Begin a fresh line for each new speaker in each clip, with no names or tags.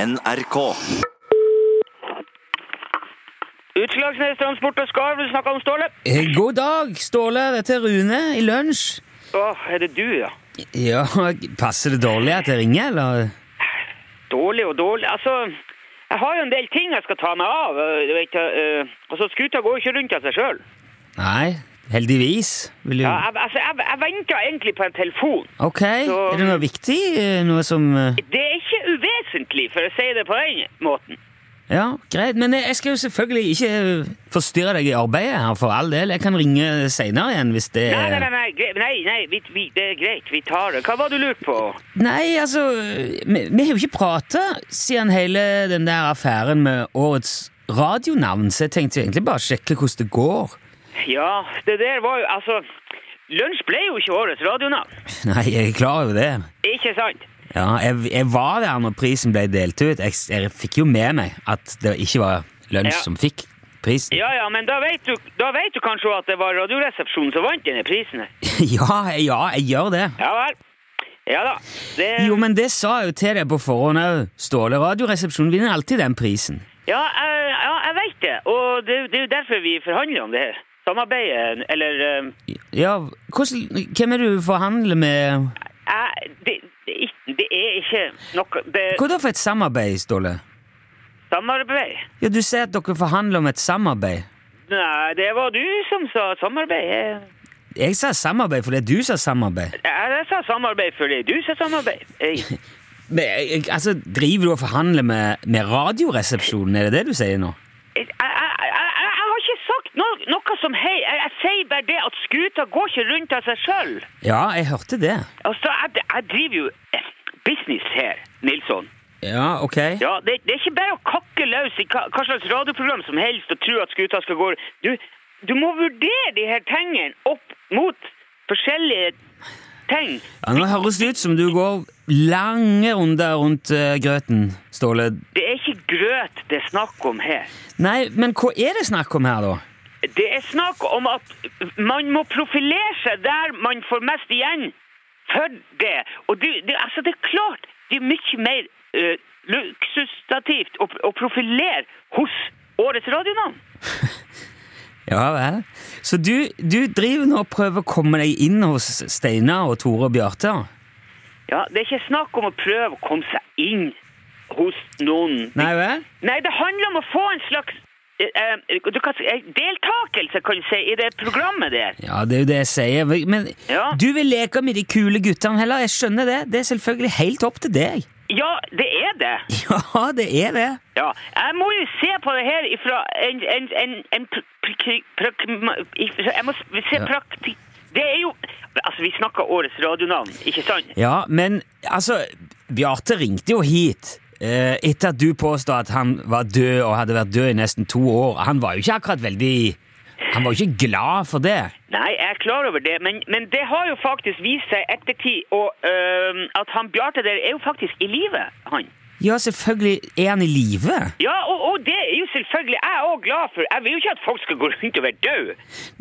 NRK.
Utslagsnes Transport og Skarv, du snakker om Ståle.
Eh, God dag, Ståle. Dette er Rune i lunsj.
Å, er det du, ja?
Ja, passer det dårlig at jeg ringer, eller?
Dårlig og dårlig. Altså, jeg har jo en del ting jeg skal ta meg av. øh, Du vet, øh, altså, skuta går jo ikke rundt av seg sjøl.
Nei, heldigvis. Vil du...
Ja, jeg, altså, jeg, jeg venter egentlig på en telefon.
Ok,
så-
er det noe viktig? Eh, Noe som... eh,
Det er ikke uvesentlig, for å si det på den måten.
Ja, greit. Men jeg skal jo selvfølgelig ikke forstyrre deg i arbeidet her, for all del. Jeg kan ringe senere igjen hvis det...
Nei, nei, nei, nei, gre- nei, nei vi, vi, det er greit, vi tar det. Hva var det du lurte på?
Nei, altså, vi, vi har jo ikke pratet siden hele den der affæren med årets radionavn, så jeg tenkte jo egentlig bare sjekke hvordan det går.
Ja, det der var jo Altså, lunsj ble jo ikke årets radionavn.
Nei, jeg er klar over det.
Ikke sant?
Ja, jeg, jeg var der når prisen ble delt ut. Jeg, jeg fikk jo med meg at det ikke var lunsj
Ja.
som fikk prisen.
Ja ja, men da vet du, da vet du kanskje også at det var Radioresepsjonen som vant denne prisen her.
Ja, ja, jeg gjør det.
Ja vel. Ja da. Det,
Jo, men det sa jeg jo til deg på forhånd òg. Ståle Radioresepsjon vinner alltid den prisen.
ja, jeg, ja, jeg vet det. Og det, er jo- det er jo derfor vi forhandler om det her. Samarbeidet, eller eh,
Ja, hvordan, hvem er det du forhandler med?
jeg, det, det, er ikke- det er ikke noe det, er
Hva da for et samarbeid, Ståle?
Samarbeid?
Ja, Du sier at dere forhandler om et samarbeid.
Nei, det var du som sa samarbeid. Jeg,
Jeg sa samarbeid fordi du sa samarbeid.
jeg, jeg sa samarbeid fordi du sa samarbeid. Jeg,
Men, jeg, jeg- altså, Driver du og forhandler med, med Radioresepsjonen, er det det du sier nå?
jeg, jeg, jeg, jeg jeg har ikke sagt noe, noe som hei. Jeg, jeg sier bare det at skuta går ikke rundt av seg sjøl.
Ja, jeg hørte det.
Altså, jeg, jeg driver jo eh, business her, Nilsson.
Ja, ok.
Ja, det, det er ikke bare å kakke løs i hva, hva slags radioprogram som helst og tro at skuta skal gå. Du, du må vurdere de her tingene opp mot forskjellige ting.
Ja, nå høres det ut som du går lange runder rundt eh, grøten, Ståle.
Det er ikke grøt det er snakk om her.
Nei, men hva er det snakk om her, da?
Det er snakk om at man må profilere seg der man får mest igjen for det. Og det, det, altså det er klart det er mye mer eh, luksusativt å, å profilere hos årets radionavn.
Ja vel. Så du, du driver nå og prøver å komme deg inn hos Steinar og Tore og Bjarte?
Ja, det er ikke snakk om å prøve å komme seg inn hos noen.
Nei vel?
Nei, det handler om å få en slags eh, eh, du kan, si- eh, deltakelse, kan du si, i det programmet der.
Ja, det er jo det jeg sier. Men
Ja.
du vil leke med de kule guttene heller. Jeg skjønner det. Det er selvfølgelig helt opp til deg.
Ja, det er det.
Ja, det er det.
Ja, jeg må jo se på det her ifra en, en, en, en pr- pr- pr- ifra- Jeg må s- se
Ja.
praktisk Det er jo Altså, vi snakker årets radionavn, ikke sant?
Ja, men altså Bjarte ringte jo hit eh, etter at du påstod at han var død og hadde vært død i nesten to år. Han var jo ikke akkurat veldig Han var jo ikke glad for det.
Nei, jeg er klar over det, men, men det har jo faktisk vist seg ettertid og, øhm, at han Bjarte der er jo faktisk i live, han.
Ja, selvfølgelig er han i live.
Ja, og, og det er jo selvfølgelig jeg òg glad for. Jeg vil jo ikke at folk skal gå rundt og være døde.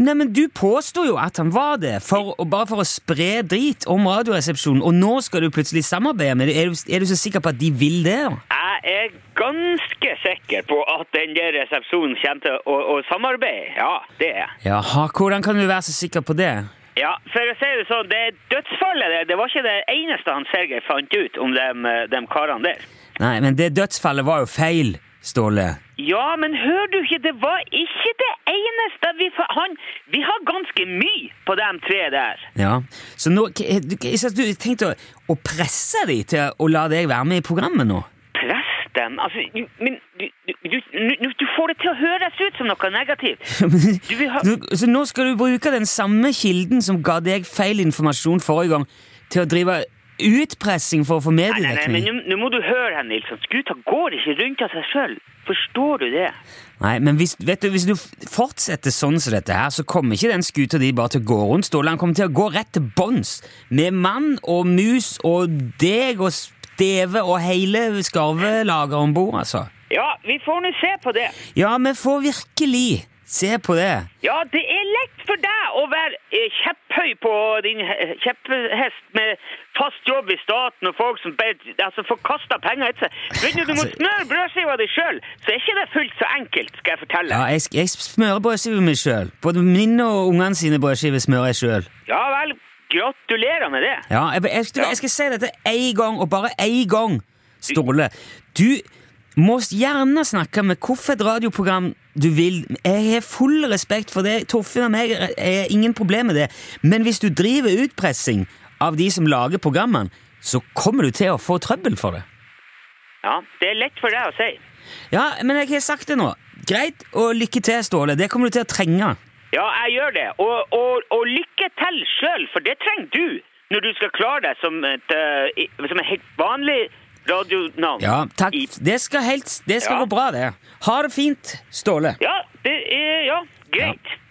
Nei, men du påstod jo at han var det, for, og bare for å spre drit om Radioresepsjonen, og nå skal du plutselig samarbeide med dem. Er, du- er du så sikker på at de vil det? da?
Jeg er ganske sikker på at den der resepsjonen kommer til å, å samarbeide. Ja, det er jeg.
Jaha, hvordan kan du være så sikker på det?
Ja, for å si det sånn, det dødsfallet der, det var ikke det eneste han Sergej fant ut om dem, eh, dem karene der.
Nei, men det dødsfallet var jo feil, Ståle.
Ja, men hør du ikke, det var ikke det eneste vi fa- Han, vi har ganske mye på dem tre der.
Ja. Så nå, k- eh, du, k- så du tenkte å, å presse dem til å la deg være med i programmet nå?
Press dem, altså, du- men du, du, du, nu- du får det til å høres ut som noe negativt. Du vil ha...
Du, så nå skal du bruke den samme kilden som ga deg feil informasjon forrige gang, til å drive utpressing for å få
Nei, nei, nei, men
mediedekning?
nå nå må du høre her, Nilsson. Skuta går ikke rundt av seg sjøl. Forstår du det?
Nei, men hvis, vet du, hvis du f- fortsetter sånn som dette her, så kommer ikke den skuta di bare til å gå rundt, Ståle. Han kommer til å gå rett til bånns, med mann og mus og deg og steve og hele skarvelageret om bord, altså.
Ja, vi får nå se på det.
Ja, vi får virkelig Se på det!
Ja, det er lett for deg å være eh, kjepphøy på din he- kjepphest med fast jobb i staten og folk som bare altså, får kasta penger etter seg. Men når du må
Altså-
smøre brødskiva di sjøl, så er ikke det fullt så enkelt, skal jeg fortelle.
Ja, jeg, jeg smører brødskive meg sjøl. Både min og ungene sine brødskiver smører jeg sjøl.
Ja vel, gratulerer med det.
Ja, jeg, jeg, jeg, jeg skal si dette én gang, og bare én gang, Ståle. Du må gjerne snakke med hvilket radioprogram du vil. Jeg har full respekt for det. Torfinn og meg er ingen problem med det. Men hvis du driver utpressing av de som lager programmene, så kommer du til å få trøbbel for det.
Ja, det er lett for deg å si.
Ja, men jeg har sagt det nå. Greit, og lykke til, Ståle. Det kommer du til å trenge.
Ja, jeg gjør det. Og, og, og lykke til sjøl, for det trenger du når du skal klare deg som et, eh, i- som et helt vanlig radionavn.
Ja, takk.
I-
Det skal, helt, det skal
Ja.
gå bra, det. Ha det fint, Ståle.
Ja, det er Ja, greit.
Ja.